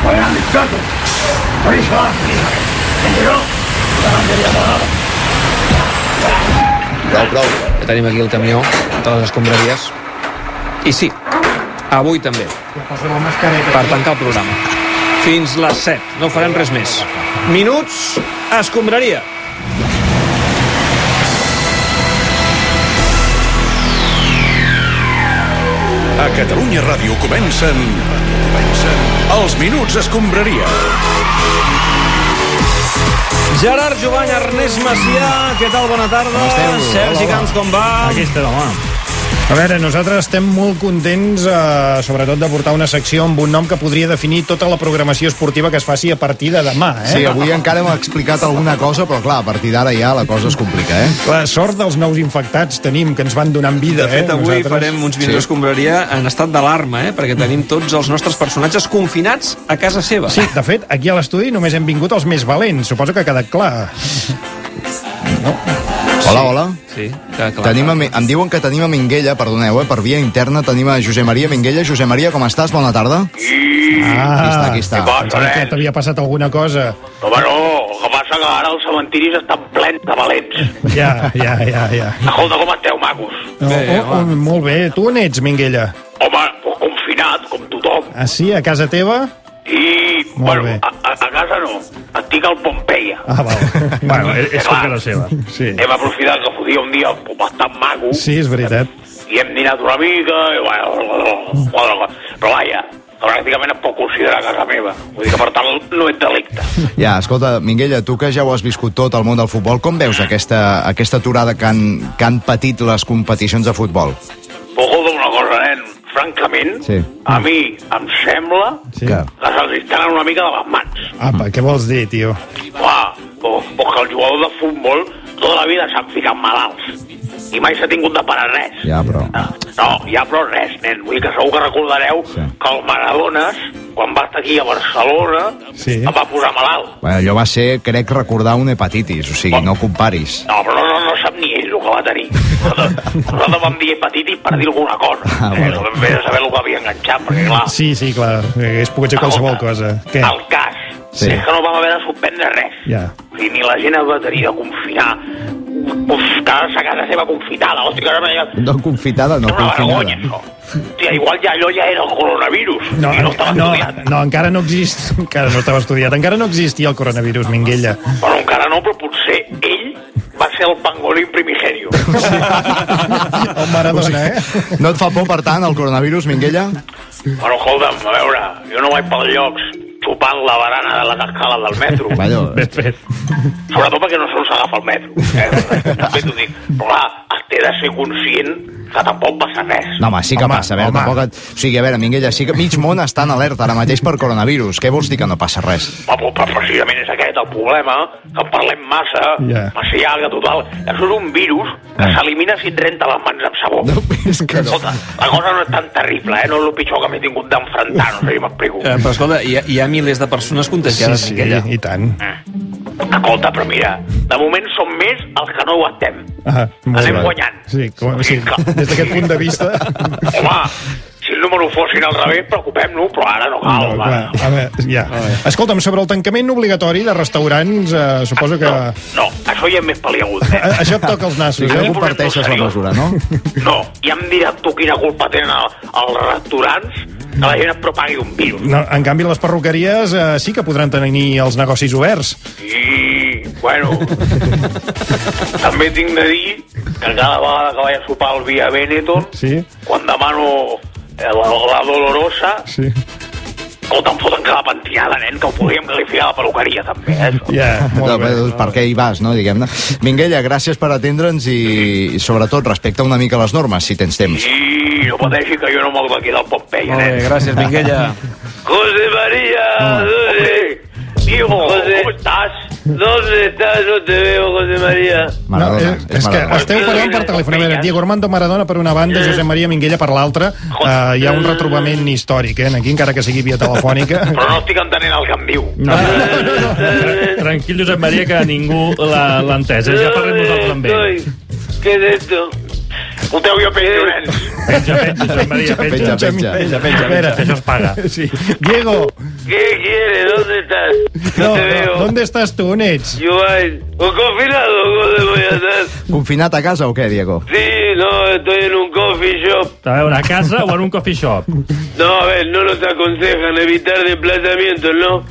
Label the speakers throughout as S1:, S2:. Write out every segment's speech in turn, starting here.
S1: Scotland. Pretty sharp, anyway. And you know,
S2: Prou, prou. Ja tenim aquí el camió de les escombraries. I sí, avui també,
S3: Ja poso la mascareta.
S2: per tancar el programa. Fins les 7, no farem res més. Minuts, escombraria.
S4: A Catalunya Ràdio comencen... comencen... Els Minuts Escombraria.
S2: Gerard Jovany, Ernest Macià, què tal? Bona tarda. Sergi Camps, com va?
S3: Aquí estem, home. A veure, nosaltres estem molt contents, eh, sobretot, de portar una secció amb un nom que podria definir tota la programació esportiva que es faci a partir de demà, eh?
S5: Sí, avui encara hem explicat alguna cosa, però clar, a partir d'ara ja la cosa es complica, eh?
S3: La sort dels nous infectats tenim, que ens van donant vida,
S2: De fet,
S3: eh?
S2: avui
S3: nosaltres.
S2: farem uns minuts
S5: Sí.
S2: d'escombraria en estat d'alarma, eh? perquè tenim tots els nostres personatges confinats a casa seva.
S3: Sí, de fet, aquí a l'estudi només hem vingut els més valents. Suposo que ha quedat clar.
S5: Hola, hola.
S2: sí clar, clar.
S5: Tenim a, Mi- em diuen que tenim a Minguella, perdoneu, eh, per via interna tenim a Josep Maria Minguella. Josep Maria, com estàs? Bona tarda.
S3: Ah,
S5: Aquí està, aquí està.
S6: Bon,
S3: pensava que
S6: Nen.
S3: t'havia passat alguna cosa.
S6: Home, no, el que passa que ara els cementiris estan plens de valents.
S3: Ja, ja, ja, ja.
S6: Escolta, com esteu, macos?
S3: No,
S2: Bé,
S3: oh, oh, molt bé. Tu on ets, Minguella?
S6: Home, doncs confinat, com tothom.
S3: Ah, sí? A casa teva?
S6: I,
S3: Molt
S6: bueno,
S3: bé.
S6: a, a, a casa no. Estic al Pompeia.
S3: Ah, val. bueno,
S6: és culpa la
S3: seva. Sí.
S6: Hem aprofitat que fotia un dia bastant maco
S3: sí, és veritat.
S6: i hem dinat una mica i bueno, bueno, però vaja, pràcticament et puc considerar casa meva. Vull dir que per tant no ets delicte.
S5: Ja, escolta, Minguella, tu que ja ho has viscut tot al món del futbol, com veus aquesta, aquesta aturada que han, que han patit les competicions de futbol?
S6: Puc dir una cosa, nen, francament,
S5: Sí.
S6: a mi em sembla
S3: Sí.
S5: Que...
S6: que se'ls estan una mica de les mans.
S3: Apa, què vols dir, tio?
S6: Clar, perquè el jugador de futbol tota la vida s'han ficat malalts i mai s'ha tingut de parar res.
S5: Ja, però...
S6: Ah, No, ja però res, nen. Vull dir que segur que recordareu
S5: Sí.
S6: que el Maradones, quan va estar aquí a Barcelona,
S3: Sí.
S6: em va posar malalt.
S5: Bueno, allò va ser, crec, recordar una hepatitis, o sigui, no comparis.
S6: No, però no, no, no sap ni ell el que va tenir. Nosaltres, nosaltres vam dir hepatitis per dir alguna cosa.
S5: Ah,
S6: eh,
S5: bueno.
S6: no vam fer saber el que havia enganxat, perquè clar...
S3: Sí, sí, clar, hagués pogut ser qualsevol cosa. Què?
S6: El cas
S5: Sí.
S6: sí. és que no vam haver de suspendre res.
S3: Ja.
S6: O sigui, ni la gent es va tenir de confinar. Uf, quedar-se a casa seva confitada. Hosti, que ara me-
S5: No confitada, no
S6: era una vergonya,
S5: confinada.
S6: això. Hòstia, igual ja allò ja era el coronavirus.
S3: No,
S6: i no estava
S3: no,
S6: estudiat.
S3: no, encara no exist, encara no estava estudiat, encara no existia el coronavirus, Minguella.
S6: Bueno, encara no, però potser ell va ser el pangolín primigenio.
S3: El Maradona, eh?
S5: No et fa por, per tant, el coronavirus, Minguella?
S6: bueno, escolta'm, a veure, jo no vaig pels llocs xupant la barana de les escales del metro.
S5: Bueno,
S3: fet.
S6: Sobretot perquè no sols s'agafa el metro. Eh? També t'ho dic. Però clar, has de ser conscient que tampoc passa res.
S5: No, home, sí que
S3: Home,
S5: passa, eh? a veure,
S3: home.
S5: tampoc... Et... O sigui, a veure, Minguella, sí que mig món està en alerta ara mateix per coronavirus. Què vols dir que no passa res?
S6: Però, però, però precisament és aquest el problema, que en parlem massa,
S3: Ja.
S6: yeah. massa llarga, total. Això és un virus que
S5: Ah.
S6: s'elimina si et renta les mans amb sabó.
S5: No, és que no.
S6: Escolta, la cosa no és tan terrible, eh? No és el pitjor que m'he tingut d'enfrontar, no sé si m'explico.
S2: Eh, però escolta, hi ha, hi ha milers de persones
S3: Sí,
S2: contagiades
S3: sí,
S2: en aquella.
S3: i tant.
S6: Escolta, però mira, de moment som més els que no ho estem.
S3: Ah, molt
S6: Anem
S3: bé.
S6: guanyant.
S3: Sí, com, sí, des d'aquest punt de vista...
S6: Home, si el número fossin al revés, preocupem-nos, però ara no cal.
S3: No,
S6: No,
S3: clar, a veure, ja. Escolta'm, sobre el tancament obligatori de restaurants, eh, suposo que...
S6: no, no, això ja és més paliagut, eh?
S3: A- Això et toca els nassos,
S5: Si no
S3: eh?
S5: comparteixes la mesura, no?
S6: No, ja em diràs tu quina culpa tenen el- els restaurants que la gent es propagui un virus.
S3: No, en canvi, les perruqueries eh, sí que podran tenir els negocis oberts.
S6: I, bueno, també tinc de dir que cada vegada que vaig a sopar al Via Benetton,
S3: Sí.
S6: quan demano eh, la, la Dolorosa,
S3: Sí.
S6: escolta, em foten cada pentinada, nen, que ho podríem qualificar de peluqueria, també, eh, això.
S3: Ja,
S5: no
S3: molt bé.
S5: doncs, per què hi vas, no, diguem-ne? Minguella, gràcies per atendre'ns i, i, sobretot, respecta una mica les normes, si tens temps.
S6: I no pateixi que jo no me'l va quedar el Pompeia,
S2: Molt bé,
S6: nen.
S2: gràcies, Minguella.
S6: José María,
S3: Ah.
S6: José. Digo, José. ¿Cómo estás? ¿Dónde estás? No te veo, José María.
S5: Maradona,
S3: eh, és que
S5: Maradona.
S3: esteu parlant per telèfon. A veure, Diego Armando Maradona per una banda, Josep Maria Minguella per l'altra. Eh, hi ha un retrobament històric, eh, en aquí, encara que sigui via telefònica.
S6: Però no estic entenent el que em diu.
S7: No, no, no. Tranquil, Josep Maria, que ningú l'ha l'ha entès. eh? Ja parlem nosaltres amb ell.
S6: Què és esto? Escolteu, jo penso, nens,
S7: Penja, penja, Josep Maria, penja.
S5: Penja, penja.
S3: Penja, penja, penja.
S7: Això es paga.
S3: Sí. Diego,
S8: ¿Qué quieres? ¿Dónde estás? No,
S3: no,
S8: te veo.
S3: no, ¿dónde estás tú, Nets?
S8: Joan, ¿un confinado? ¿Dónde voy a estar?
S5: Confinat a casa o què, Diego?
S8: Sí, no, estoy en un coffee shop.
S7: A veure, a casa o en un coffee shop?
S8: No, a ver, no nos aconsejan evitar desplazamientos, ¿no?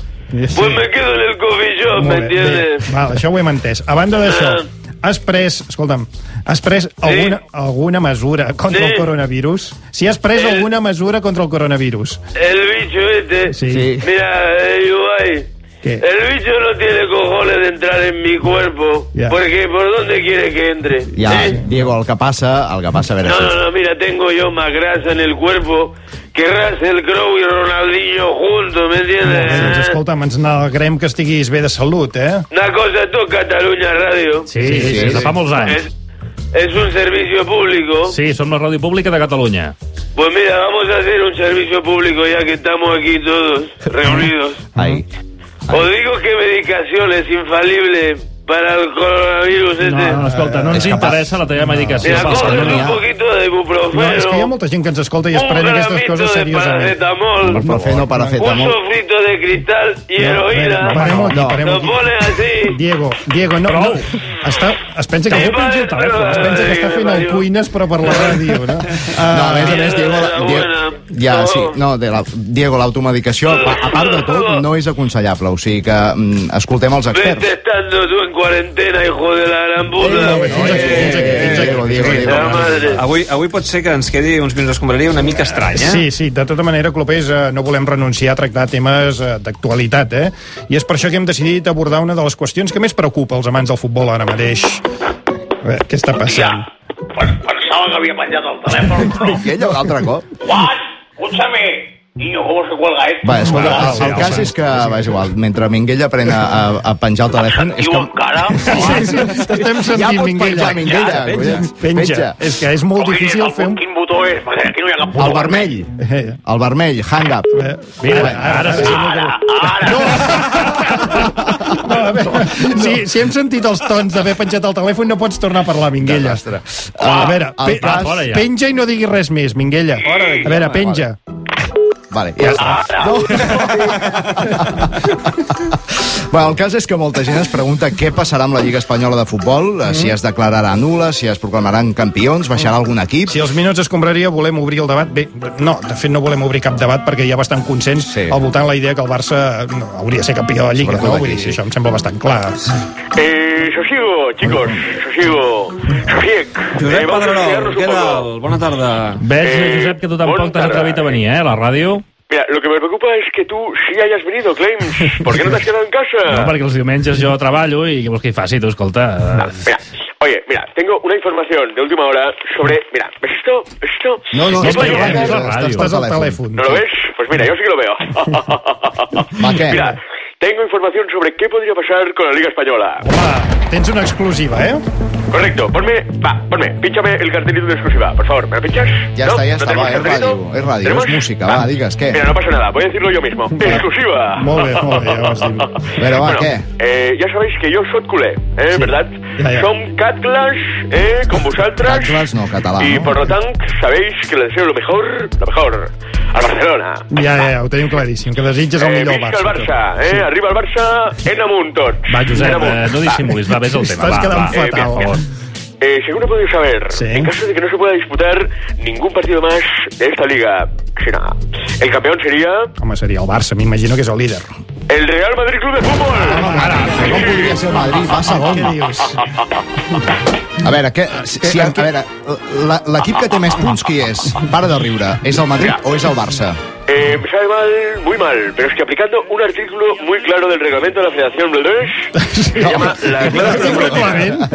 S3: Sí.
S8: Pues me quedo en el coffee shop, ¿me
S3: Molt bé,
S8: entiendes?
S3: bé. Val, això ho hem entès. A banda d'això, has pres, escolta'm, has pres alguna, alguna mesura contra
S8: Sí.
S3: el coronavirus? Si has pres
S8: Eh.
S3: alguna mesura contra el coronavirus.
S8: El bicho este.
S3: Sí.
S5: Sí.
S8: Mira, eh, Ibai,
S3: ¿Qué?
S8: El bicho no tiene cojones de entrar en mi cuerpo.
S3: Ya.
S8: Porque, ¿por dónde quiere que entre?
S5: Ja,
S8: ¿Eh?
S5: Diego, el que passa, el que passa, a veure...
S8: No,
S5: si-
S8: no, no, mira, tengo yo más grasa en el cuerpo que Russell Crowe y Ronaldinho juntos, ¿me entiendes?
S3: Molt bé, doncs,
S8: eh?
S3: escolta'm, ens n'alegrem que estiguis bé de salut, eh?
S8: Una cosa, tú, Cataluña Radio.
S7: Sí, sí, sí,
S5: sí,
S7: sí, de
S5: sí.
S7: fa molts anys.
S8: Es, es un servicio público.
S7: Sí, som la ràdio pública de Catalunya.
S8: Pues mira, vamos a hacer un servicio público ya que estamos aquí todos reunidos.
S5: Ai.
S8: Os digo que medicación es infalible para el coronavirus este.
S7: No, no, escolta, no ens
S5: És capaç.
S7: interessa la teva medicació.
S8: Mira,
S7: pels que
S8: cógete
S7: no n'hi
S8: un
S7: ha.
S8: poquito de
S3: No,
S8: ibuprofeno,
S3: és que hi ha molta gent que ens escolta i es
S8: un
S3: pren aquestes
S8: gramito
S3: coses
S8: de
S3: seriosament.
S8: paracetamol,
S5: No fer no
S8: un
S5: paracetamol.
S8: sofrito de cristal y heroína.
S3: no, parem aquí,
S5: No.
S3: parem
S8: Lo
S3: aquí.
S8: pones así.
S3: Diego, Diego, no, no.
S7: Prou.
S3: Està, es pensa que,
S8: Sí,
S3: es pensa,
S8: va, però-
S3: es pensa que està fent el
S8: Diego.
S3: cuines, però per la ràdio, no?
S5: No, a més a
S3: Uh,
S5: més, Diego... La, Diego
S8: Mierda, buena.
S5: ja,
S8: No.
S5: sí, no, de la, Diego, l'automedicació, a, pa- a part de tot, no és aconsellable, o sigui que mm, escoltem els experts.
S8: Vete estando tú en cuarentena, hijo de la gran puta. Eh.
S3: fins aquí, fins aquí, fins aquí.
S5: Diego, Diego, Diego.
S8: La madre.
S9: Avui, avui pot ser que ens quedi uns minuts d'escombraria una mica estrany, eh?
S3: Sí, sí, de tota manera, Clopés, eh, no volem renunciar a tractar temes eh, d'actualitat, eh? I és per això que hem decidit abordar una de les qüestions que més preocupa els amants del futbol ara mateix. A veure, què està passant?
S10: Ja. Pues pensava que havia penjat el telèfon, però...
S5: I ella un altre cop?
S10: Juan, escúchame. Niño, ¿cómo se cuelga esto?
S5: Va, escolta,
S3: Ah,
S5: el,
S3: sí,
S5: el cas
S3: sí.
S5: és que, va, és igual, mentre Minguella aprèn a, a, a penjar el telèfon... És
S10: Diu
S5: que...
S10: encara?
S3: Sí, sí, estem
S5: Ja
S3: sentint,
S5: pots
S3: Minguella.
S5: penjar, Minguella.
S9: Ja, penja,
S5: collons.
S3: Penja. És que és molt
S10: Quin és
S3: difícil
S10: el
S3: fer un...
S10: Quin botó és? Perquè aquí no hi ha cap botó.
S5: El vermell.
S3: Eh,
S5: El vermell, hang up.
S3: eh,
S7: Mira,
S3: Ara,
S7: ara sí.
S6: Ah,
S10: Ara, ara.
S3: No, a veure, si, si hem sentit els tons d'haver penjat el telèfon, no pots tornar a parlar, Minguella. Ah,
S5: Desastre.
S3: A veure,
S5: el
S3: pe
S5: pas-
S7: fora ja.
S3: penja i no diguis res més, Minguella. A veure, penja.
S5: Vale, ja està. No. Bueno, el cas és que molta gent es pregunta què passarà amb la Lliga Espanyola de Futbol, eh,
S3: Mm.
S5: si es declararà nul·la, si es proclamaran campions, baixarà algun equip...
S3: Si els minuts es compraria, volem obrir el debat. Bé, no, de fet no volem obrir cap debat perquè hi ha bastant consens sí.
S5: Sí.
S3: al voltant la idea que el Barça no, hauria de ser campió de la Lliga,
S5: Sobretot
S3: no?
S5: aquí,
S3: Vull dir,
S5: sí.
S3: això em sembla bastant clar.
S8: Eh, sosiego, chicos, sosiego. Sosiec.
S9: Josep
S8: Eh, vamos a
S9: Pedrerol,
S8: sosiegarnos un
S9: què
S8: poco.
S9: tal? Bona tarda.
S7: Veig,
S8: Eh,
S7: Josep, que tu
S8: bona
S7: tampoc t'has
S8: tarda.
S7: atrevit a venir, eh, a la ràdio.
S8: Mira, lo que me preocupa es que tú sí hayas venido, Claims. ¿Por qué no te has quedado en
S7: No,
S8: casa?
S7: perquè els diumenges jo treballo i què vols que hi faci, tu, escolta?
S8: Mira, oye, mira, tengo una información de última hora sobre... Mira, ¿ves esto? ¿Ves esto?
S5: No, no,
S7: Sí,
S5: estàs
S7: veiem,
S5: a la
S7: és la
S5: casa, estàs
S7: ràdio.
S3: Estàs al telèfon.
S8: ¿No lo ves? Pues mira, yo sí que lo veo.
S5: Va, què?
S8: Mira, tengo información sobre qué podría pasar con la Liga Española.
S3: Home, tens una exclusiva, eh?
S8: Correcto, ponme, va, ponme, pínchame el cartelito de exclusiva, por favor, ¿me lo pinchas?
S5: Ya está, ya está,
S8: tenemos
S5: va, es
S8: cartelito?
S5: radio, es radio,
S8: ¿Tenemos?
S5: es música, va, digas, ¿qué?
S8: Mira, no pasa nada, voy a decirlo yo mismo. Exclusiva.
S3: Molt bé, molt bé, ja ho has dit.
S5: Pero va, ¿qué?
S8: Eh, ya sabéis que yo soy culé, ¿eh? ¿Verdad?
S3: Ya, ya.
S8: Son catlas, ¿eh? Con vosotras.
S5: Catlas no, catalán,
S8: Y
S5: ¿no?
S8: por lo tanto, sabéis que le deseo lo mejor, lo mejor, al Barcelona.
S3: Ja, ja, ja, ho tenim claríssim, que desitges el
S8: Eh,
S3: millor al
S8: visca el
S3: Barça.
S8: Barça, eh? Arriba el Barça en amunt tots.
S7: Va,
S8: En
S7: Josep,
S8: amunt.
S7: eh, no
S8: Va.
S7: dissimulis, va, vés al tema.
S3: Estàs
S7: va,
S3: quedant
S7: va.
S8: Eh, bien,
S3: fatal.
S8: bien. Eh, según he podido saber,
S3: Sí.
S8: en caso de que no se pueda disputar ningún partido más de esta liga, será- el campeón sería
S3: Home, seria el Barça, m'imagino que és el líder.
S8: el Real Madrid Club de Fútbol.
S5: Com podria ser el Madrid? Va, segon.
S3: Què dius?
S5: A veure, què, si, si, a veure la- l'equip que té més punts, qui és? Para de riure. És el Madrid o és el Barça?
S8: Eh, me sabe mal, muy mal, pero es que aplicando un artículo muy claro del reglamento de la Federación Bledores, se llama la cláusula florentina.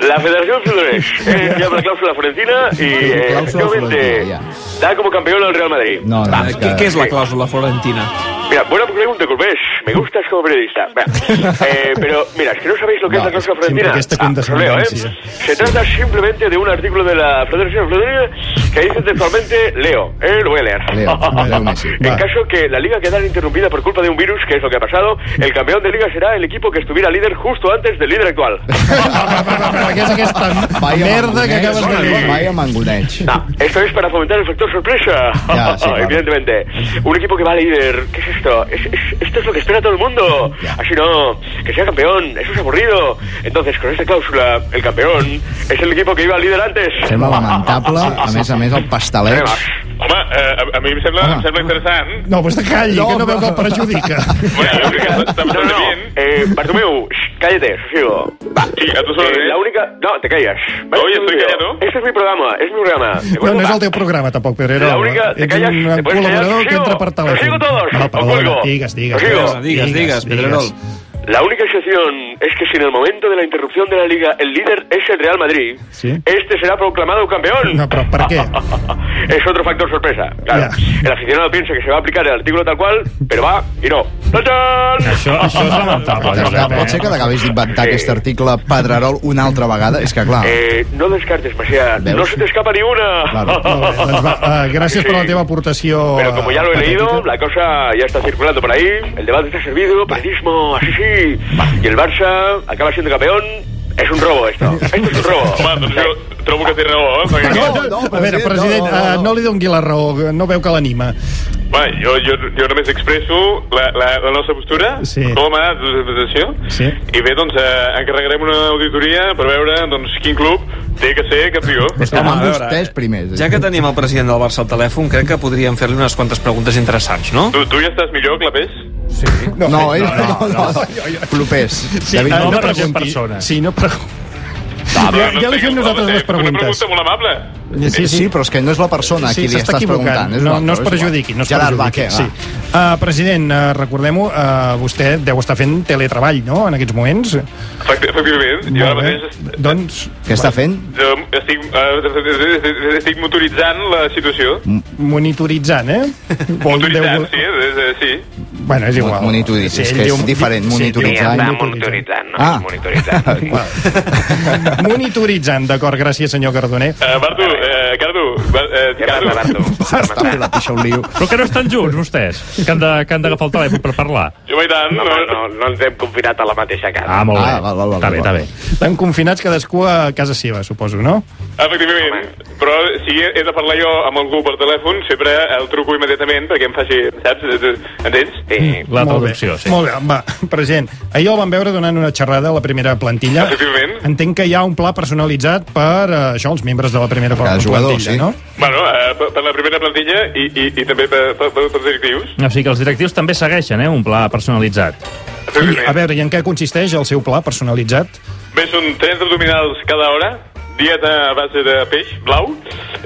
S8: La Federación Bledores eh, se llama la cláusula florentina y eh,
S5: Cláusula
S8: efectivamente
S5: florentina,
S8: da como campeón al Real Madrid. Ah,
S5: No, no,
S2: Ah,
S9: Eh,
S5: és
S9: Què, què
S5: que...
S9: és la clàusula florentina?
S8: Mira, buena pregunta, Corbés. Me gustas como periodista. Mira, eh, pero, mira, es que no sabéis lo que
S5: No,
S8: es la cláusula
S3: siempre
S8: florentina.
S3: que esta
S8: os lo leo, ¿eh?
S3: condescendencia.
S8: Se trata simplemente de un artículo de la Federación Florentina que dice textualmente, leo, eh, lo voy a leer.
S5: Leo, leo Messi.
S8: En
S3: Va.
S8: caso que la liga quedara interrumpida por culpa de un virus, que es lo que ha pasado, el campeón de liga será el equipo que estuviera líder justo antes del líder actual.
S3: Però què és aquesta
S5: Vaya
S3: merda que
S5: mangoneig,
S3: acabes de dir?
S5: Vaya mangoneig.
S8: No, Ah, esto es para fomentar el factor sorpresa.
S5: Ya, sí, claro.
S8: Evidentemente. Un equipo que va líder. ¿Qué es esto? Es- es- esto es lo que espera todo el mundo.
S5: Ya.
S8: Así no. Que sea campeón. Eso es aburrido. Entonces, con esta cláusula, el campeón es el equipo que iba líder antes.
S5: Sembla lamentable, a més a més el pastaleig.
S8: Además,
S11: Home, eh, a, a mi em sembla, em
S5: Home.
S11: sembla interessant.
S3: No, vostè calli, que no veu que el perjudica.
S11: Bueno, jo crec que està- està
S8: No, no,
S11: bastant
S8: no.
S11: bé.
S8: Eh, Bartomeu, shh, cállate, sosiego. Va.
S11: Sí, a tu solo,
S8: Eh,
S11: eh?
S8: la única... No, te callas.
S11: Oye, estoy
S8: Bartomeu,
S11: callado.
S8: Este es mi programa, es mi programa. ¿De
S3: No,
S8: acuerdo?
S3: no és
S8: Va.
S3: el teu programa, tampoc, Pedrero.
S8: La única- te
S3: Ets
S8: callas,
S3: un
S8: te puedes callar,
S3: col·laborador que
S8: sigo.
S3: entra per telèfon.
S8: Os sigo todos,
S3: No,
S8: os
S3: perdona,
S8: cuelgo.
S3: digues, digues.
S8: Os sigo.
S9: Digues, digues, digues, Pedrerol.
S8: La única excepción es que si en el momento de la interrupción de la liga el líder es el Real Madrid,
S3: Sí.
S8: este será proclamado campeón.
S3: No, però per
S5: Ah,
S3: què?
S8: es otro factor sorpresa. Claro,
S3: Ya.
S8: el aficionado piensa que se va a aplicar el artículo tal cual, pero va y no. ¡Tachán!
S7: Això, això és lamentable.
S5: Clar,
S7: Josep, eh?
S5: pot ser que t'acabis d'inventar aquest article Pedrerol una altra vegada? És que, clar,
S8: Eh, no descartes, Masia.
S5: ¿Veus?
S8: No se te escapa ni una.
S5: Claro.
S3: Molt bé, doncs va, eh, gràcies per la teva aportació.
S8: Pero como ya lo he
S3: eh,
S8: leído,
S3: patètica.
S8: la cosa ya está circulando por ahí, el debate está servido, periodismo, así sí, y el Barça acaba siendo campeón, es un robo esto, esto es un robo.
S11: Home, doncs jo trobo que té raó, eh? Perquè,
S5: No, no,
S3: A veure, president,
S5: no, no,
S3: eh,
S5: no.
S3: no li dongui la raó, no veu que l'anima.
S11: Va, jo, jo, jo només expresso la, la, la nostra postura,
S3: Sí.
S11: com a representació,
S3: Sí.
S11: i bé, doncs, eh, encarregarem una auditoria per veure doncs, quin club té que ser campió.
S5: Home, amb
S9: a veure,
S3: eh.
S5: vostès primers. eh?
S9: Ja que tenim el president del Barça al telèfon, crec que podríem fer-li unes quantes preguntes interessants, no?
S11: Tu, tu ja estàs millor, Clapés?
S5: No, ell no, no, no. Flopers. David,
S3: eh,
S7: no,
S5: no.
S7: però-
S3: pregunti.
S7: en persona.
S3: Sí, no pregunti. Ja,
S7: eh,
S3: ja li fem nosaltres les
S11: Una
S3: preguntes.
S11: pregunta molt amable.
S5: Sí, sí, però és que no és la persona a
S3: Sí,
S5: qui li
S3: s'està
S5: estàs
S3: equivocant.
S5: preguntant. és un
S3: No,
S5: altre,
S3: no es
S5: és
S3: perjudiqui, no es
S5: Gerard,
S3: perjudiqui.
S5: va, què, va.
S3: Sí. Uh, president, uh, recordem-ho, uh, vostè deu estar fent teletreball, no?, en aquests moments.
S11: Efecti- Efectivament, jo ara
S3: Molt bé.
S11: mateix est-
S3: Doncs,
S5: Què està fent?
S11: jo estic, eh, estic motoritzant la situació.
S5: Mm.
S3: monitoritzant, eh? Vol dir- deu-
S11: Motoritzant, sí, eh, eh, sí.
S3: Bueno, és igual.
S5: Monitoritz, és que és
S3: diu-
S5: diferent, monitoritzant.
S3: diu
S5: Està
S3: monitoritzant.
S5: Ah.
S3: Monitoritzant, d'acord, gràcies, senyor Cardoner.
S11: Eh, Bartu, eh, Cardo, Bar- eh, Cardo.
S8: doncs.
S5: Està fent la pixa un lío.
S7: Però que no estan junts, vostès, que han de- que han d'agafar el telèfon per parlar.
S11: Jo, i tant, no, no,
S8: no ens hem confinat a la mateixa
S7: Ah, molt bé.
S5: Ah, val, val, val,
S7: Està bé,
S5: val.
S7: està bé.
S3: Estan confinats cadascú a casa seva, suposo, no?
S11: efectivament. Però si he he de parlar jo amb algú per telèfon, sempre el truco immediatament perquè em faci, saps? Eh, eh, Entens?
S8: Sí.
S7: La
S3: Mm, Molt bé,
S7: traducció, sí.
S3: Molt bé, va, president. Ahir el van veure donant una xerrada a la primera plantilla.
S11: Efectivament.
S3: Entenc que hi ha un pla personalitzat per eh, això, els membres de la primera
S5: Cada
S3: plantilla,
S5: jugador, sí.
S3: no?
S11: Bueno, eh, per, per la primera plantilla i, i, i també per, per, per, per directius.
S7: O sigui que els directius també segueixen, eh, un pla personalitzat.
S3: I, a
S11: Efectivament.
S3: veure, i en què consisteix el seu pla personalitzat?
S11: Bé, són 30 abdominals cada hora, dieta a base de peix blau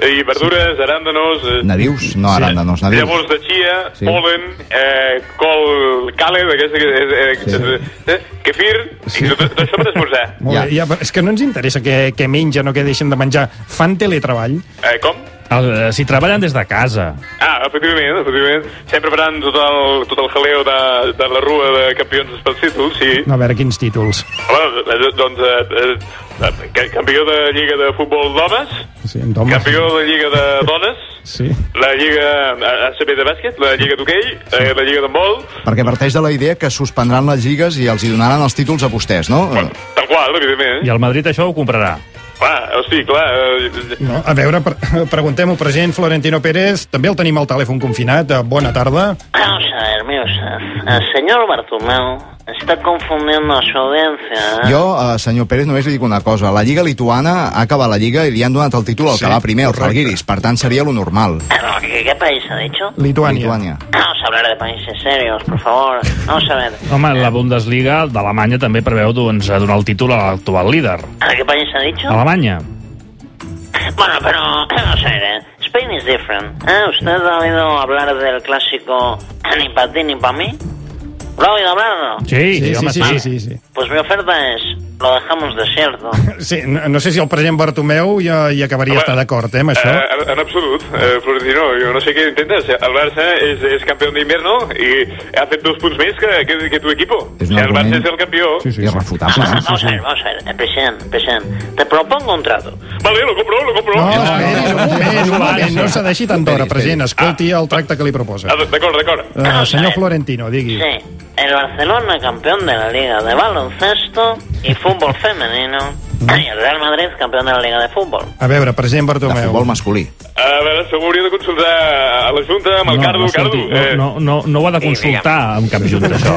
S11: i verdures, aràndanos, eh,
S5: Nadius? No, aràndanos,
S11: Llavors
S5: nadius.
S11: de chia,
S5: Sí.
S11: sí. polen, eh, col, cale, d'aquesta que... Eh, eh, eh, kefir, sí. i tot, tot això per esmorzar.
S3: Molt
S5: Ja.
S3: bé, ja, però és que no ens interessa què, què mengen o què deixen de menjar. Fan teletreball?
S11: Eh, com?
S7: El, eh, si treballen des de casa.
S11: Ah, efectivament, efectivament. Sempre preparant tot el, tot el jaleo de, de la rua de campions pels títols, sí.
S3: No, a veure quins títols.
S11: Bueno, eh, doncs, eh, eh, ca- campió de Lliga de Futbol d'Homes,
S3: Sí, en Tom.
S11: campió de Lliga de Dones,
S3: Sí.
S11: la Lliga eh, ACB de bàsquet, la Lliga d'hoquei, eh, la Lliga d'handbol,
S5: Perquè parteix de la idea que suspendran les lligues i els hi donaran els títols a vostès, no?
S11: tal qual, evidentment.
S7: I el Madrid això ho comprarà.
S11: Va, hosti, clar... Eh,
S3: No, a veure, pre preguntem-ho, president Florentino Pérez. També el tenim al telèfon confinat. Eh, Bona tarda.
S12: Vamos a ver, mire usted. El señor Bartomeu está confundiendo a su
S4: Ah.
S12: audiencia. ¿eh?
S5: Jo, eh, senyor Pérez, només li dic una cosa. La Lliga Lituana ha acabat la Lliga i li han donat el títol al
S3: Sí,
S5: que va primer, al
S3: correcte.
S5: Falguiris. Per tant, seria lo normal.
S12: Pero, ¿Qué, qué país ha dicho?
S3: Lituània.
S5: Lituània.
S12: Vamos a hablar de países serios, por favor. Vamos a ver.
S7: Home, la Bundesliga d'Alemanya també preveu doncs, a donar el títol a l'actual líder.
S12: ¿A qué país ha dicho?
S7: Alemanya.
S12: Bueno, pero vamos a ver, ¿eh? Spain is different. ¿eh? ¿Usted ha oído hablar del clásico ni para ti ni para mí? ¿Lo ha oído hablar o no?
S7: Sí, sí, home, sí.
S3: sí, sí.
S12: Pues mi oferta es lo dejamos desierto.
S3: Sí, no, no sé si el president Bartomeu ja hi acabaria
S13: Home,
S3: estar d'acord, eh, amb això.
S13: Eh, en, en absolut, eh, Florentino, yo no sé qué intentas. El Barça es, es campeón de invierno y hace dos puntos más que, que, que tu equipo.
S5: Es
S13: el
S5: un
S13: Barça
S5: argument-
S13: es el campeón.
S12: No,
S5: Irrefutable.
S12: no, vamos a ver, vamos a ver. Eh, Presidente, presidente, te propongo un trato.
S13: Vale, lo compro, lo compro.
S3: No,
S13: Ah,
S3: esperi, un moment, un moment, no se deixi tant d'hora,
S5: Esperi, esperi.
S3: president. Escolti el tracte que li proposa.
S13: D'acord, d'acord.
S3: Eh, senyor Florentino, digui.
S12: Sí, el Barcelona campeón de la Liga de Baloncesto y Fútbol Femenino.
S3: Mm.
S12: Y el Real Madrid campeón de la Liga de Fútbol.
S3: A veure, president
S5: De
S3: Bartomeu.
S5: futbol masculí.
S13: A veure, segur hauria de consultar a la Junta amb el
S7: no,
S13: Cardo,
S7: no,
S13: Cardo.
S7: escolti,
S13: eh,
S7: no, no, no, no ho ha de
S11: Sí,
S7: consultar amb cap junta, això.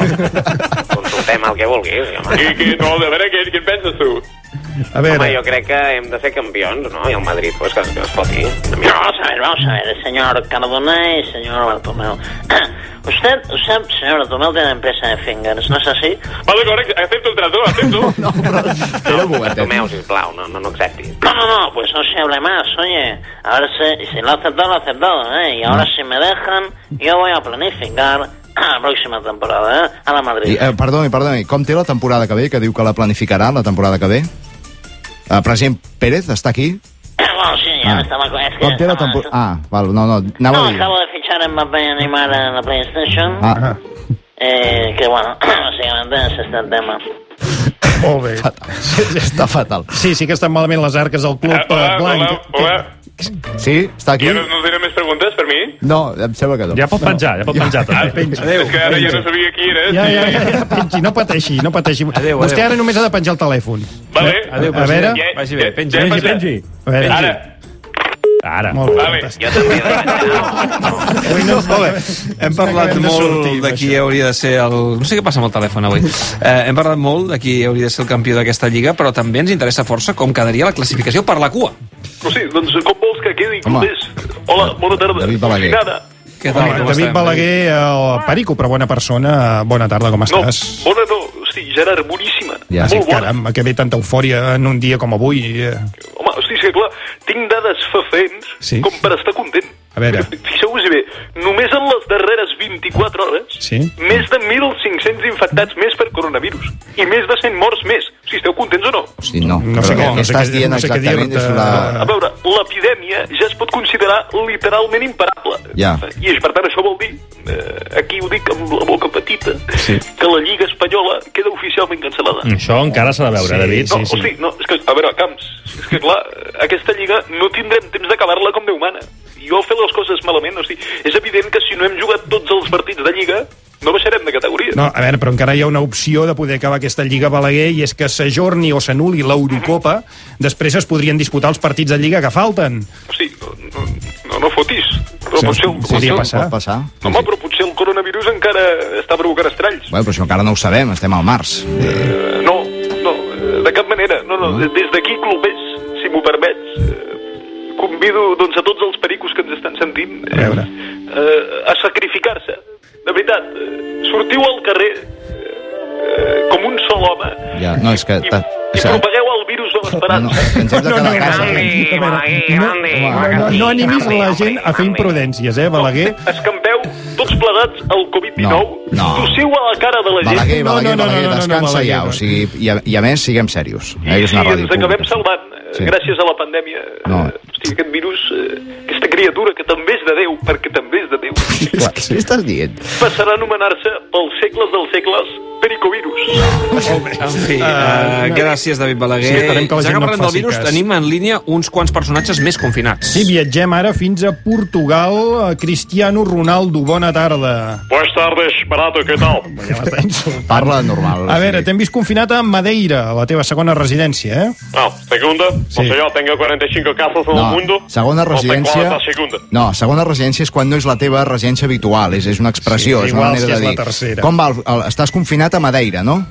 S11: Consultem el que vulguis, home.
S13: I, que, no, a veure, què, què en penses tu?
S3: A
S11: Home,
S3: veure,
S11: jo crec que hem de ser campions, no? I el Madrid, pues, que, que es foti.
S12: Mira,
S11: Una mica.
S12: vamos a ver, vamos a ver, señor Cardona y señor Bartomeu. Usted, usted, señor Bartomeu, tiene empresa de fingers, ¿no es así?
S13: Vale, correcte, accepto el trato, accepto.
S5: No, però... Espera un momentet.
S11: Tomeu, sisplau, no, no, no acceptis.
S12: No, no, no, pues no se hable más, oye. A ver si, si lo ha aceptado, lo ha aceptado, ¿eh? Y ahora si me dejan, yo voy a planificar la próxima temporada, ¿eh? A la Madrid.
S5: I, eh, perdoni, perdoni, com té la temporada que ve, que diu que la planificarà la temporada que ve? El president Pérez està aquí?
S12: bueno, sí, ya me estaba... con- Es que
S5: Com té la
S12: estaba-
S5: temporada... Ah, val, no, no, anava
S12: No,
S5: a dir...
S12: acabo de fichar en Mbappé y Neymar en la PlayStation.
S5: Ah,
S12: Eh, que bueno, básicamente es este el tema.
S3: molt bé.
S5: està fatal.
S3: Sí, sí que estan malament les arques del club
S13: Ah,
S3: eh,
S13: hola, hola,
S3: blanc.
S13: hola.
S5: Sí? Està aquí?
S13: Ja no, no tenen més preguntes per mi?
S5: No, em sembla que no.
S7: Ja pot penjar, ja pot penjar, també.
S3: Adéu.
S13: És que ara ja no sabia qui eres.
S3: Ja, ja, ja, ja, pengi, no pateixi, no pateixi.
S2: Adéu,
S3: Vostè
S2: adéu.
S3: ara només ha de penjar el telèfon.
S13: Vale.
S2: Adéu,
S3: A veure.
S2: president. Vagi bé, penja.
S13: Ja he
S7: Pengi,
S13: passat.
S7: pengi.
S3: A veure,
S7: Ara.
S13: Ara,
S3: Molt bé.
S13: vale.
S11: Jo també he de demanar...
S3: Avui no,
S2: Molt bé, hem parlat
S3: Acabem de
S2: molt
S3: sortir,
S2: de qui hauria de ser el... No sé què passa amb el telèfon avui. Eh, hem parlat molt de qui hauria de ser el campió d'aquesta lliga, però també ens interessa força com quedaria la classificació per la cua.
S4: No sé, doncs com vols que quedi?
S5: Home.
S4: Més? Hola, bona tarda.
S5: David Balaguer.
S4: Nada.
S2: Què tal?
S3: Home,
S2: Com
S3: David
S2: estem?
S3: Balaguer, el Perico, però bona persona. eh, Bona tarda, com
S4: No,
S3: estàs?
S4: bona no. Hosti, Gerard, boníssima.
S5: Ja.
S3: Sí,
S4: Molt bona.
S3: caram, que ve tanta eufòria en un dia com avui. eh.
S4: Home, hosti, és que clar, tinc dades fafents
S3: Sí.
S4: com per estar content.
S3: A veure.
S4: Fixeu-vos bé, només en les darreres 24 hores,
S3: Sí.
S4: més de 1.500 infectats més per coronavirus i més de 100 morts més. Si esteu contents o no?
S5: Sí, no.
S3: No sé
S5: però
S3: què- no sé
S5: estàs
S3: què-
S5: dient
S3: no sé què
S5: exactament
S3: dir-te.
S5: és la...
S4: A veure, l'epidèmia ja es pot considerar literalment imparable.
S5: Ja.
S4: I per tant això vol dir, eh, aquí ho dic amb la boca petita,
S3: Sí.
S4: que la Lliga Espanyola queda oficialment cancel·lada.
S7: Mm. Això encara s'ha de veure,
S3: Sí,
S7: David.
S4: No, sí, hosti, no, és que, a veure, Camps, és que clar, aquesta lliga no tindrem temps d'acabar-la com Déu mana. Jo fer les coses malament, hosti, és evident que si no hem jugat tots els partits de lliga, no baixarem de categoria.
S3: No, a veure, però encara hi ha una opció de poder acabar aquesta Lliga Balaguer i és que s'ajorni o s'anuli l'Eurocopa, després es podrien disputar els partits de Lliga que falten.
S4: Hosti, no, no, no fotis. Però
S3: Sí,
S4: potser,
S3: sí,
S4: potser,
S3: sí, passa.
S5: Pot
S3: passar.
S5: pot passar.
S4: No, home, però potser el coronavirus encara està provocant estralls.
S5: Bueno, però això encara no ho sabem, estem al març. Eh,
S4: Eh, No, no, eh, de cap manera. No, no, des d'aquí, clubers, si m'ho permets, eh, convido doncs, a tots els pericos que ens estan sentint
S3: A veure.
S4: eh, a sacrificar-se. De veritat, eh, sortiu al carrer eh, com un sol home
S5: ja, no, és que...
S4: i,
S5: ta-
S4: i
S5: és que-
S4: propagueu el virus de
S5: No, no,
S4: l'esperança.
S5: és que ens hem de quedar a casa.
S3: A
S11: grande,
S3: veure, no,
S11: grande,
S4: Ah,
S3: no, no, no animis
S11: grande,
S3: la gent a fer
S11: grande.
S3: imprudències, eh, Balaguer?
S4: Escampeu tots plegats el Covid-19,
S5: No, no.
S4: tossiu a la cara de la gent
S3: No,
S5: Balaguer, Balaguer,
S3: no, no,
S5: Balaguer,
S3: no, no, no,
S5: eh, descansa
S3: Balaguer,
S5: ja,
S3: no.
S5: o sigui, i a, i a més, siguem serios. Eh,
S4: I
S5: és
S4: sí,
S5: una ràdio
S4: ens acabem
S5: pública.
S4: salvant,
S5: Sí.
S4: sí. gràcies a la pandèmia.
S5: No.
S4: Hosti, aquest virus, eh, aquesta criatura que també és de Déu, perquè també és de Déu,
S5: Clar, Què estàs dient?
S4: passarà a anomenar-se pels segles dels segles pericovirus.
S2: En fi, uh, gràcies, David Balaguer.
S3: Eh, Sí, esperem que la
S2: ja
S3: gent
S2: que
S3: no
S2: parlem
S3: en
S2: del
S3: faci
S2: virus,
S3: cas.
S2: tenim en línia uns quants personatges més confinats.
S3: Sí, viatgem ara fins a Portugal. Cristiano Ronaldo, bona tarda.
S13: Buenas tardes, barato, què tal?
S3: Ja m'està insultant.
S5: Parla normal.
S3: A veure,
S5: sí.
S3: t'hem vist confinat a Madeira, a la teva segona residència, eh?
S13: No, Ah, segunda,
S3: Sí.
S13: no sé jo, tengo 45 casos en el mundo.
S5: No, segona
S13: o tengo
S5: residència...
S13: la segunda.
S5: No, segona residència és quan no és la teva residència habitual, és, és una expressió,
S3: Sí,
S5: és una
S3: igual
S5: manera
S3: si és
S5: de
S3: la
S5: dir.
S3: tercera.
S5: Com va? El, el, estàs confinat a Madeira, no?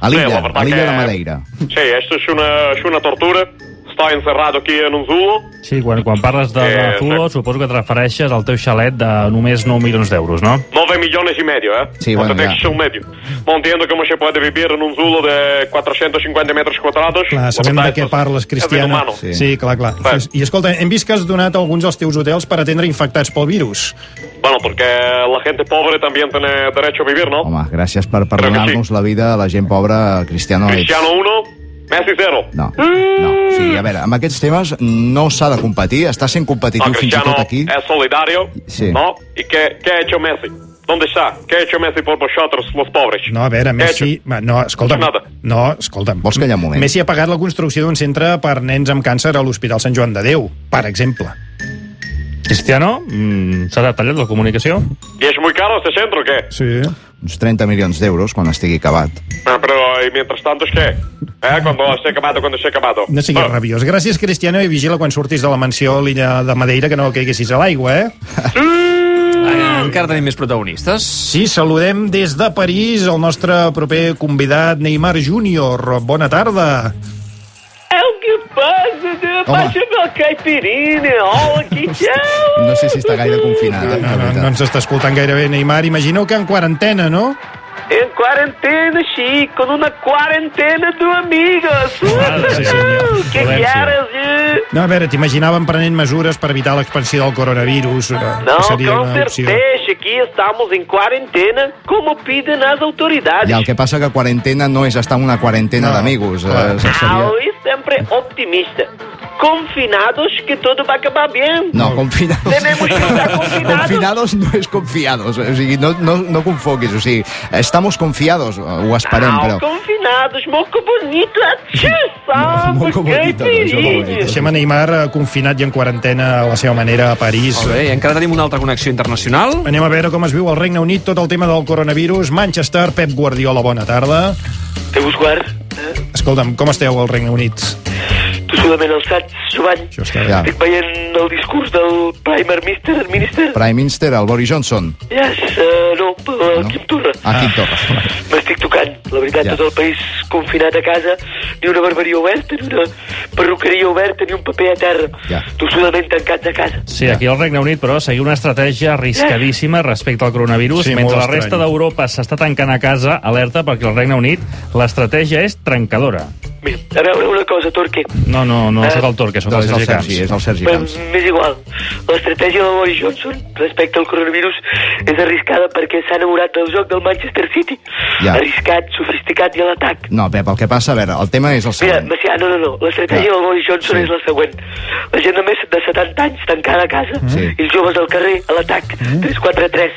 S5: A
S13: Sí,
S5: l'illa,
S13: la verdad
S5: a l'illa
S13: que-
S5: de Madeira.
S13: Sí, esto es una, es una tortura. Estoy encerrado aquí en un zoo.
S7: Sí, quan, quan parles de, de
S13: Eh,
S7: Zulo, suposo que et refereixes al teu xalet de només 9 milions d'euros, no?
S13: 9 millones y medio, ¿eh?
S5: Sí,
S13: Hasta
S5: bueno, ya.
S13: Texas un medio. No entiendo cómo se puede vivir en un zulo de 450 metros cuadrados.
S3: Clar, sabem de què parles, Cristiano.
S5: Sí.
S13: Sí.
S3: Sí, clar, clar.
S13: Bé.
S3: I escolta, hem vist que has donat alguns dels teus hotels per atendre infectats pel virus.
S13: Bueno, porque la gente pobre también tiene derecho a vivir, ¿no?
S5: Home, gràcies per
S13: Crec que
S5: perdonar-nos la vida a la gent pobra, Cristiano. ets-
S13: Cristiano 1,
S11: Messi zero.
S5: No, no. O sigui, a veure, amb aquests temes no s'ha de competir, està sent competitiu
S13: Ah,
S11: No,
S5: fins i
S11: Cristiano
S5: tot aquí.
S11: es solidario,
S5: Sí.
S11: ¿no? ¿Y qué, qué ha hecho Messi? ¿Dónde está? ¿Qué ha hecho Messi por vosotros, los pobres?
S3: No, a veure,
S11: ¿Qué ha
S3: Messi...
S11: hecho?
S3: Va, no, escolta'm.
S11: Nada.
S3: No, escolta'm. Vols callar un moment? Messi ha pagat la construcció d'un centre per nens amb càncer a l'Hospital Sant Joan de Déu, per exemple.
S7: Cristiano, mm, s'ha detallat la comunicació?
S11: ¿Y es muy caro este centro o qué?
S3: Sí.
S5: Uns 30 milions d'euros quan estigui acabat.
S11: Ah, Pero, ¿y mientras tanto es qué? ¿Eh? Cuando esté acabado, cuando esté acabado.
S3: No siguis rabiós. Gràcies, Cristiano, i vigila quan surtis de la mansió a l'illa de Madeira que no caiguessis a l'aigua, eh?
S2: Eh, Encara tenim més protagonistes.
S3: Sí, saludem des de París el nostre proper convidat, Neymar Júnior. Bona tarda.
S10: É o que passa, né? Baixa meu caipirinha, olha que tchau.
S5: No sé si està gaire confinat. eh,
S3: No, no, no ens està escoltant gaire bé, Neymar. Imagino que en quarantena, no?
S10: Em quarentena, Chico, numa quarentena do amigo.
S3: sí, senhor.
S10: Que
S3: Valência.
S10: caras, eh?
S3: No, a veure, t'imaginaven prenent mesures per evitar l'expansió del coronavirus. eh, que
S10: Não, é
S3: seria
S10: com
S3: una opció.
S10: certeza, aqui estamos em quarentena, como pedem as
S5: I
S10: autoridades.
S5: el que passa que quarantena no és estar en una quarantena no. d'amigos. Eh, seria...
S10: Ao e Ah, sempre optimista. Confinados que tudo vai acabar bem.
S5: No, confinados...
S10: Tenemos que estar confinados.
S5: Confinados no és confiados, o sigui, no, no, no confoquis, o sigui, estamos confiados, ho esperem,
S10: Não,
S5: però...
S10: confinados, moco bonito, atchissamos, caipirinha.
S3: Deixem a Neymar eh, confinat i en quarantena a la seva manera a París.
S2: Molt bé, i encara tenim una altra connexió internacional.
S3: Anem a veure com es viu al Regne Unit tot el tema del coronavirus. Manchester, Pep Guardiola, bona tarda.
S14: Te buscar,
S3: Escolta'm, com esteu al Regne Unit?
S14: tossudament alçats, Joan.
S3: Això està
S5: Ja.
S14: Estic veient el discurs del Primer Mister, Minister.
S5: Prime Minister, el Boris Johnson.
S14: Yes, uh, no, el Quim Torra.
S5: A Quim Torra.
S14: M'estic tocant. La veritat,
S5: Ah. Ja.
S14: tot el país confinat a casa, ni una barberia oberta, ni una perruqueria oberta, ni un paper a terra.
S5: Ja.
S14: Tossudament tancats a casa.
S7: Sí, aquí al Regne Unit, però, seguir una estratègia arriscadíssima respecte al coronavirus.
S14: Sí,
S7: Mentre
S14: molt
S7: la resta
S14: estrany.
S7: d'Europa s'està tancant a casa, alerta, perquè al Regne Unit l'estratègia és trencadora.
S14: Mira, a veure una cosa, Torque.
S7: No, no, no
S14: Eh,
S7: sóc el Torque, sóc
S5: no,
S10: Doncs
S7: el
S5: Doncs és el
S7: Sergi Camps.
S5: Sergi, és el Sergi
S14: Però m'és igual. L'estratègia del Boris Johnson respecte al coronavirus és arriscada perquè s'ha enamorat del joc del Manchester City.
S5: Ja.
S14: Arriscat, sofisticat i a l'atac.
S5: No, Pep, el que passa, a veure, el tema és el
S14: Mira,
S5: següent.
S14: Macià, no, no, no. L'estratègia del Boris Johnson és la següent. La gent de més de 70 anys tancada a casa
S5: Mm. Sí. Mm.
S14: i els joves al carrer a l'atac, 3-4-3.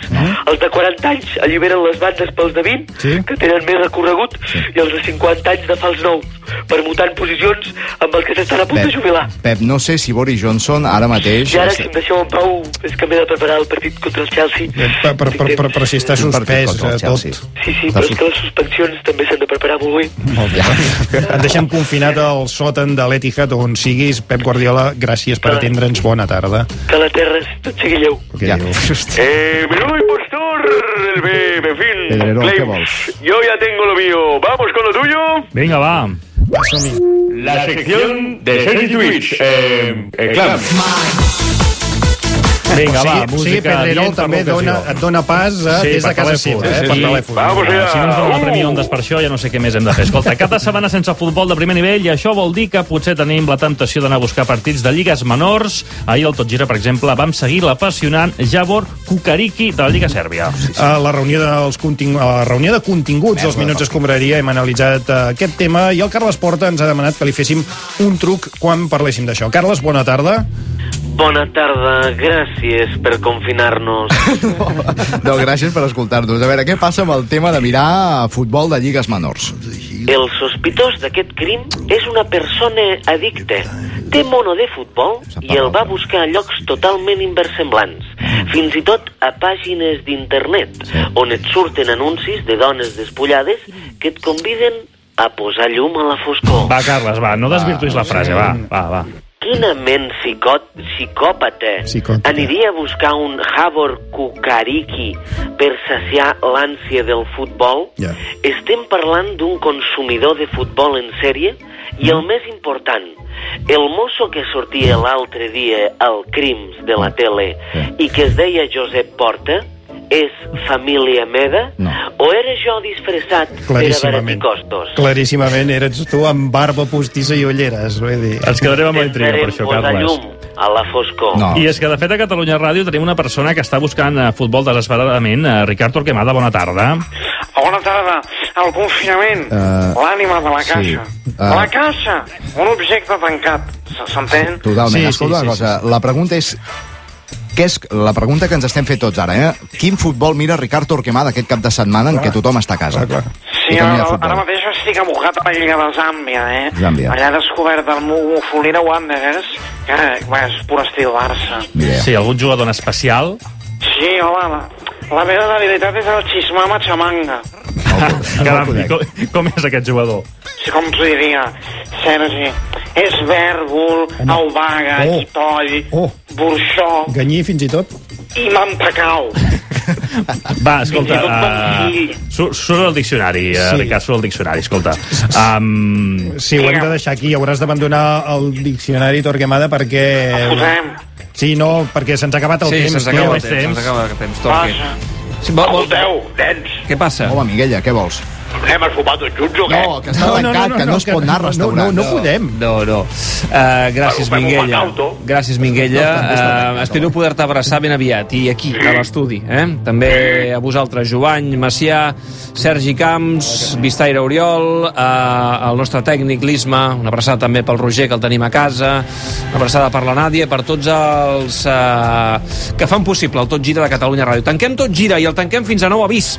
S14: Els de 40 anys alliberen les bandes pels de 20, que tenen més recorregut, i els de 50 anys de fals nous, permutant posicions amb el que s'estan a punt
S5: Pep.
S14: de jubilar.
S5: Pep, no sé si Boris Johnson ara mateix...
S14: I ara, si em deixeu en pau, és que m'he de preparar el partit contra el Chelsea.
S3: Per, per, per, per, per si està
S5: Un partit
S3: suspès
S5: contra el
S3: eh, tot.
S14: Sí, sí, però és que les suspensions també s'han de preparar molt bé.
S3: Molt bé. Et deixem confinat al sòtan de l'Etihad on siguis. Pep Guardiola, gràcies per atendre'ns. Bona tarda.
S14: Que la terra és tot sigui lleu.
S3: Ja.
S11: Eh, menudo impostor, el bebé, en fin.
S3: Pedrerol,
S8: eh,
S11: Claims.
S3: què vols?
S11: Yo ya tengo lo mío. Vamos con lo tuyo.
S7: Vinga, va.
S11: La sección de Sergi Twitch. Eh, eh, claro.
S7: Vinga,
S3: o sigui,
S7: va,
S3: o sigui,
S7: música
S3: Pedrerol
S7: adient per
S3: també
S7: l'ocasió.
S3: dona, et dona pas eh,
S7: Sí,
S3: des de
S7: per
S3: casa seva,
S7: telèfon,
S3: eh,
S7: sí,
S3: per
S7: sí.
S3: telèfon.
S7: Vamos allá. Si no ens dona el Premi
S3: Uh!
S7: Ondas per això, ja no sé què més hem de fer. Escolta, cada setmana sense futbol de primer nivell i això vol dir que potser tenim la temptació d'anar a buscar partits de lligues menors. Ahir al Tot Gira, per exemple, vam seguir l'apassionant Javor Kukariki de la Lliga Sèrbia.
S3: A la reunió, dels contingu... a la reunió de continguts dels Minuts Escombraria hem analitzat eh, aquest tema i el Carles Porta ens ha demanat que li féssim un truc quan parléssim d'això. Carles, bona tarda.
S14: Bona tarda, gràcies per confinar-nos.
S5: No, gràcies per escoltar-nos. A veure, què passa amb el tema de mirar futbol de lligues menors?
S14: El sospitós d'aquest crim és una persona addicta. Té mono de futbol i el va buscar a llocs totalment inversemblants, fins i tot a pàgines d'internet, on et surten anuncis de dones despullades que et conviden a posar llum a la foscor.
S7: Va, Carles, va, no desvirtuïs la frase, va, va, va.
S14: Quina ment psicot, psicòpata
S7: Psicòpata.
S14: aniria a buscar un Havor Kukariki per saciar l'ànsia del futbol?
S3: Ja.
S14: Estem parlant d'un consumidor de futbol en sèrie i el més important, el mosso que sortia l'altre dia al Crims de la tele i que es deia Josep Porta és família meva no. o era jo disfressat per abaratir
S3: Claríssimament.
S14: costos?
S3: Claríssimament eres tu amb barba postissa i ulleres. Vull dir.
S7: Ens quedarem amb la intriga per això,
S14: Posar
S7: Carles.
S14: llum a la foscor.
S7: No. I és que, de fet, a Catalunya Ràdio tenim una persona que està buscant eh, futbol desesperadament. Eh, Ricard Torquemada, bona tarda.
S6: Bona tarda. El confinament.
S5: Eh,
S6: L'ànima de la
S5: sí.
S6: caixa.
S5: Eh.
S6: La caixa! Un objecte tancat. S- S'entén?
S5: Totalment. Sí, Escolta sí, una cosa, sí, sí. la pregunta és... Què és la pregunta que ens estem fent tots ara, eh? Quin futbol mira Ricard Torquemada aquest cap de setmana en què tothom està a casa? Clar, clar.
S6: Sí, ara, ara mateix estic abocat a la Lliga de Zàmbia, eh?
S5: Zàmbia.
S6: Allà he descobert el Mufolina Wanderers, que bé, és pur estil Barça.
S7: Sí, algun jugador en especial.
S6: Sí, home, la, la meva debilitat és el xismama xamanga.
S7: Caram, i com, com és aquest jugador?
S6: Sí, com t'ho diria, Sergi. És vèrgol, aubaga,
S3: Oh.
S6: oh. itoll, oh. burxó
S3: Ganyí, fins i tot.
S6: i mantacau.
S7: Va, escolta,
S6: Fins i
S7: uh, surt surt al diccionari, uh,
S3: Sí.
S7: sí. Ricard, surt al diccionari, escolta. Um,
S3: Sí, ho hem de deixar aquí. Hauràs d'abandonar el diccionari Torquemada perquè...
S7: El posem.
S3: Sí, no, perquè se'ns ha acabat el
S2: Sí,
S3: temps.
S2: se'ns acaba el
S3: tio.
S2: temps, se'ns acaba el temps, Torqui. Sí, vol, vol...
S8: nens.
S2: Què passa?
S5: Home, Miguella, què vols?
S8: Anem a sopar tots junts o què?
S5: No, que està tancat, que no es pot anar al restaurant.
S2: No, no. Uh, gràcies,
S5: Bueno, fem un
S2: Minguella. Gràcies, Minguella. Uh, espero poder-te abraçar ben aviat i aquí, a l'estudi. Eh? També a vosaltres, Jovany, Macià, Sergi Camps, Vistaire Oriol, uh, el nostre tècnic, l'Isma, una abraçada també pel Roger, que el tenim a casa, una abraçada per la Nàdia, per tots els uh, que fan possible el Tot Gira de Catalunya Ràdio. Tanquem Tot Gira i el tanquem fins a nou avís.